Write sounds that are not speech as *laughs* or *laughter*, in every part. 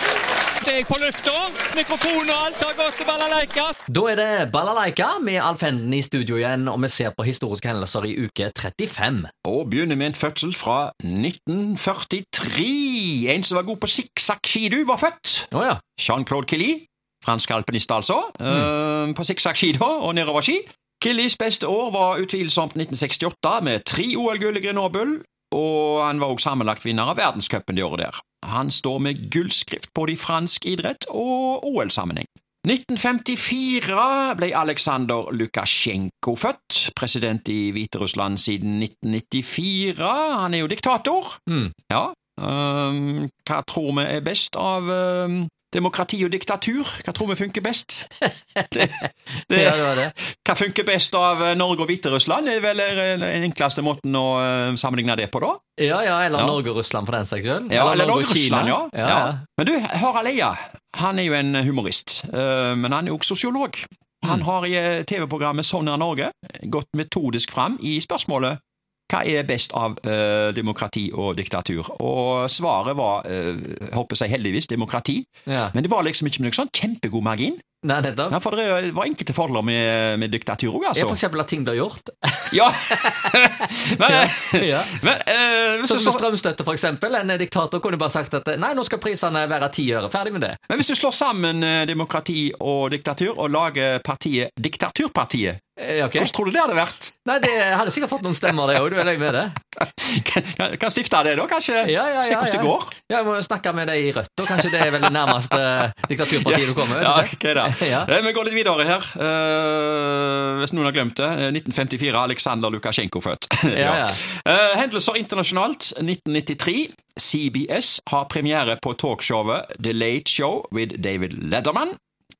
Snart er jeg på lufta. Mikrofon og alt har gått til balalaika. Da er det Balalaika med Alf Henden i studio igjen, og vi ser på historiske hendelser i uke 35. Og begynner med en fødsel fra 1943. En som var god på sikksakk-skidu, var født. Å ja. Jean-Claude Killy, fransk alpinist altså, eh, på sikksakk-ski da, og nedoverski. Killys beste år var utvilsomt 1968, med tre OL-gull i Grenoble, og han var også sammenlagt vinner av verdenscupen det året der. Han står med gullskrift både i fransk idrett og OL-sammenheng. 1954 ble Aleksandr Lukasjenko født, president i Hviterussland siden 1994. Han er jo diktator. Mm. Ja. ehm, hva tror vi er best av ehm, demokrati og diktatur? Hva tror vi funker best? Det, det, Ja, det var det. hva funker best av eh, Norge og Hviterussland? er vel eh, den enkleste måten å eh, sammenligne det på, da? Ja, ja, eller Ja. Norge og Russland, for den saks skyld. Ja, eller Norge og Kina. Russland, ja. Ja, ja. ja. Men du, Harald Eia, han er jo en humorist, eh, men han er jo også sosiolog. Mm. Han har i eh, TV-programmet Sånn er Norge gått metodisk fram i spørsmålet hva er best av eh, demokrati og diktatur? Og svaret var, uh, håper seg heldigvis, demokrati. Ja. Men det var liksom ikke med noen sånn kjempegod margin. Nei, nettopp. Ja, for det var enkelte fordeler med, med diktatur òg, Ja, for altså. eksempel at ting blir *laughs* gjort. Ja. men, ja. men, eh, hvis Sånn som du med slår- strømstøtte, for eksempel. En diktator kunne bare sagt at nei, nå skal prisene være ti øre. Ferdig med det. Men hvis du slår sammen eh, demokrati og diktatur og lager partiet Diktaturpartiet, Eh, ok. hvordan tror du det hadde vært? Nei, det hadde sikkert fått noen stemmer, det òg. Du er lei med det? Kan- Kan stifte det da, kanskje? Ja, ja, Se ja, hvordan ja. det går. Ja, jeg må jo snakke med deg i Rødt, og kanskje det er vel det nærmeste diktaturpartiet du kommer? *laughs* Ja, vet du ikke? *laughs* ok da. Ja. Eh, Vi går litt videre her. Eh, hvis noen har glemt det. eh, 1954, Aleksandr Lukasjenko født. *laughs* Ja, ja. Eh, hendelser internasjonalt. 1993. CBS har premiere på talkshowet The Late Show with David Letterman.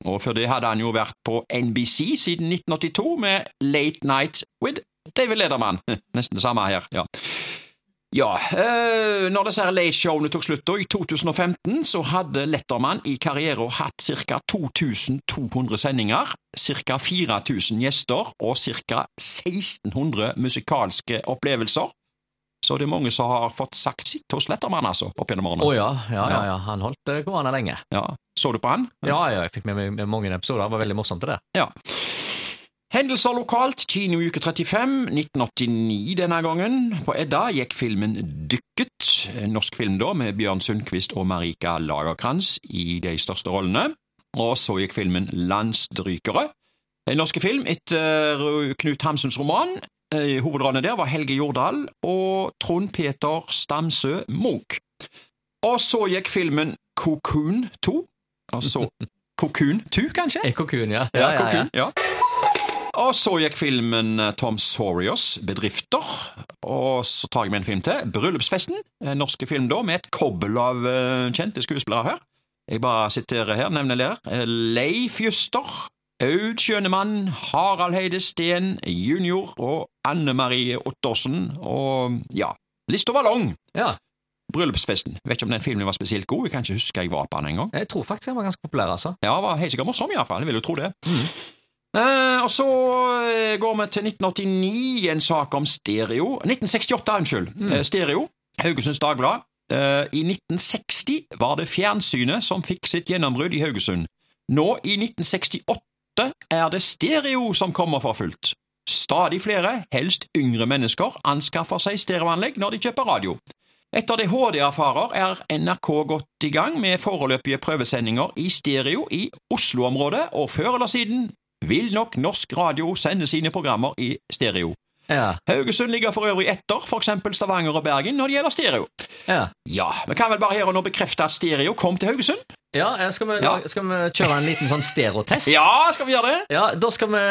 Og før det hadde han jo vært på NBC siden 1982 med Late Night with David Letterman. *laughs* Nesten det samme her, ja. Ja, øh, når disse her late-showene tok slutt da, i 2015, så hadde Letterman i karrieren hatt ca. 2200 sendinger, ca. 4000 gjester og ca. 1600 musikalske opplevelser. Så det er mange som har fått sagt sitt hos Letterman, altså, opp gjennom Å årene. ja, ja, ja, ja. Han holdt eh, gående lenge. Ja. Så du på han? Ja, ja, jeg fikk med meg mange episoder. Det var veldig morsomt, det der. Ja. Hendelser lokalt. Kino uke 35, 1989 denne gangen. På Edda gikk filmen Dykket, en norsk film da, med Bjørn Sundquist og Marika Lagerkrantz i de største rollene. Og så gikk filmen Landsdrykere, en norsk film etter eh, Knut Hamsuns roman. Eh, Hovedrollene der var Helge Jordal og Trond Peter Stamsø Munch. Og så gikk filmen Cocoon 2, altså Cocoon 2, kanskje? Ekkokun, ja. Ja, kokkun, ja. Og så gikk filmen eh, Tom Sorios, 'Bedrifter'. Og så tar jeg med en film til. 'Bryllupsfesten'. En norsk film da, med et kobbel av eh, kjente skuespillere her. Jeg bare siterer her, nevner der. Eh, Leif Juster, Aud Skjønemann, Harald Heide Steen jr. og Anne Marie Ottersen. Og ja, lista var lang. ja. Bryllupsfesten. Vet ikke om den filmen var spesielt god. Jeg kan ikke huske jeg var på den engang. Jeg tror faktisk han var ganske populær, altså. Ja, han var helt sikkert morsom iallfall. Jeg vil jo tro det. Eh, og så eh, går vi til 1989, en sak om stereo. 1968, unnskyld. Eh, stereo. Haugesunds Dagblad. Eh, I 1960 var det fjernsynet som fikk sitt gjennombrudd i Haugesund. Nå, i 1968, er det stereo som kommer for fullt. Stadig flere, helst yngre mennesker, anskaffer seg stereoanlegg når de kjøper radio. Etter det HD erfarer, er NRK godt i gang med foreløpige prøvesendinger i stereo i Oslo-området, og før eller siden vil nok norsk radio sende sine programmer i stereo. Ja, Haugesund ligger for øvrig etter f.eks. Stavanger og Bergen når det gjelder stereo. ja. Ja, vi kan vel bare her og nå bekrefte at stereo kom til Haugesund? ja eh, skal, vi, Ja. skal vi kjøre en liten sånn stereotest? Ja, skal vi gjøre det? Ja, Da skal vi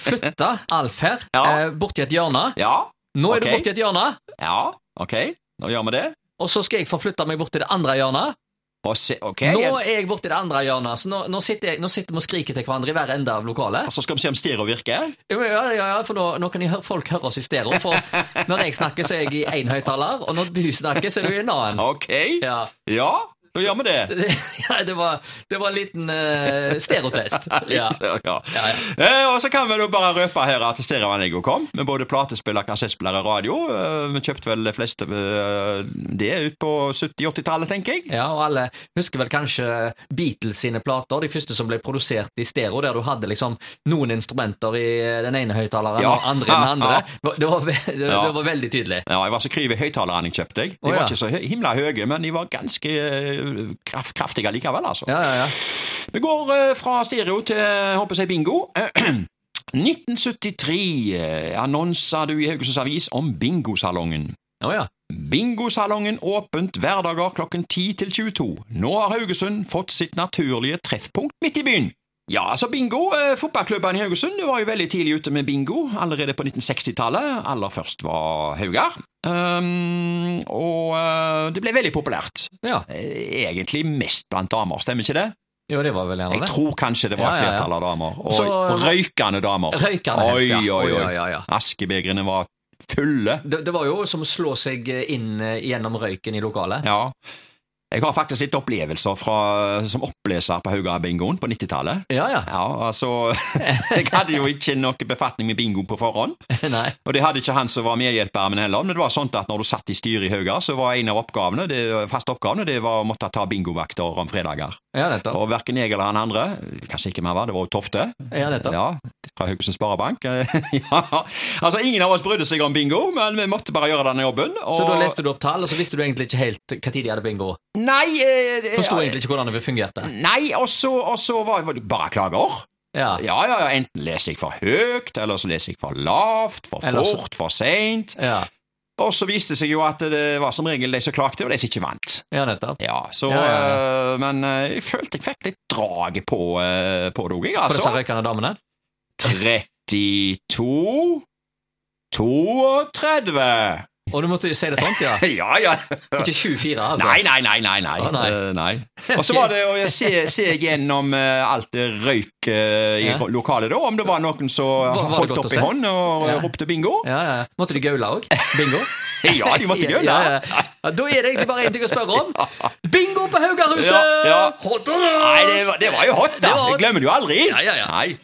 flytte Alf her Ja. eh, borti et hjørne. Ja. Nå er Ok. du borti et hjørne, Ja, ok. Nå gjør vi det. og så skal jeg forflytte meg borti det andre hjørnet. Og se, ok. Nå er jeg borti det andre hjørnet, så nå, nå, sitter, jeg, nå sitter vi og skriker til hverandre i hver ende av lokalet. Og så skal vi se om stereo virker. Jo, Ja, ja, ja, for nå, nå kan jeg høre, folk høre oss i stereo, for når jeg snakker, så er jeg i én høyttaler, og når du snakker, så er du i en annen. Ok. Ja. Ja. Da gjør vi det. ja, det, var, det var en liten eh, stereotest. Ja. Ja. Ja, Eh, og så kan vi da bare røpe her at stereoanlegget kom, med både platespiller, kassettspiller og radio. Eh, vi kjøpte vel de fleste eh, det ut på 70-80-tallet, tenker jeg. Ja, og alle husker vel kanskje Beatles sine plater, de første som ble produsert i stereo, der du hadde liksom noen instrumenter i den ene høyttaleren Ja. og andre i den andre. Det var, ve- det, Ja. det var veldig tydelig. Ja, jeg var så kryv i høyttalerne jeg kjøpte. jeg. De Å, var ja. ikke så hø- himla høye, men de var ganske eh, kraft, kraftige likevel, altså. Ja, ja, ja. Vi går eh, fra stereo til eh, håper jeg bingo. *clears throat* 1973 annonsa du i Haugesunds Avis om bingosalongen. Å, ja. Bingosalongen åpent hverdager klokken 10 til 22. Nå har Haugesund fått sitt naturlige treffpunkt midt i byen. Ja, altså bingo. Eh, fotballklubben i Haugesund var jo veldig tidlig ute med bingo, allerede på 1960-tallet. Aller først var Haugar. Ehm, og eh, det ble veldig populært. ja. Eh, Egentlig mest blant damer, stemmer ikke det? Jo, det var vel gjerne Jeg det. tror kanskje det var Ja, et ja, ja. flertall av damer. Og, Så- og røykende damer. Røykende hest, ja. Oi, oi, oi. ja, ja. Askebegrene var fulle. Det, det var jo som å slå seg inn eh, gjennom røyken i lokalet. Ja. Jeg har faktisk litt opplevelser fra, som oppleser på Hauga-bingoen på 90-tallet. Ja, *laughs* ja. Ja, altså Jeg hadde jo ikke noe befatning med bingo på forhånd, Nei. og det hadde ikke han som var medhjelperen min heller, men det var sånn at når du satt i styret i Hauga, så var en av oppgavene, det, faste oppgavene, det var å måtte ta bingovakter om fredager. Ja, nettopp. Og verken jeg eller han andre, kanskje ikke mer var, det var jo Tofte, Ja, nettopp. ja, fra Haugesund Sparebank. *laughs* ja. Altså, ingen av oss brydde seg om bingo, men vi måtte bare gjøre denne jobben. Så da og- leste du opp tall, og så visste du egentlig ikke helt hva tid de hadde bingo. Nei, eh, det- Forsto egentlig ikke hvordan det fungerte. Nei, og så, og så var, var det bare klager. Ja. Ja, ja, ja, enten leser jeg for høyt, eller så leser jeg for lavt, for Eller så- fort, for seint. Ja, Og så viste det seg jo at det var som regel de som klagde, og de som ikke vant. ja nettopp. Ja, så, Ja, ja, eh, Men eh, jeg følte jeg fikk litt draget på, eh, på det òg, jeg, For disse altså. røykende damene. 32 32 Og du måtte jo si det sånt, ja. Ja, *laughs* ja. Ikke 24, altså. Nei, nei, nei. nei, nei. Å, nei. Eh, *laughs* nei. Og så var det å se, se gjennom eh, alt det røyk eh, i Ja. ro- lokalet, da. Om det var noen som var det holdt godt opp å i se? hånd og eh, Ja. ropte *laughs* bingo. Ja, ja. Måtte de gaule *laughs* òg? Bingo? Ja, de måtte gjøre Ja, det. ja. Ja, Da er det egentlig bare én ting å spørre *laughs* om. Bingo på Haugahuset! Ja, ja. Hot or not? Nei, det var, det var jo hot, Det da. var Det hot. glemmer du jo aldri. Ja, ja, ja. Nei.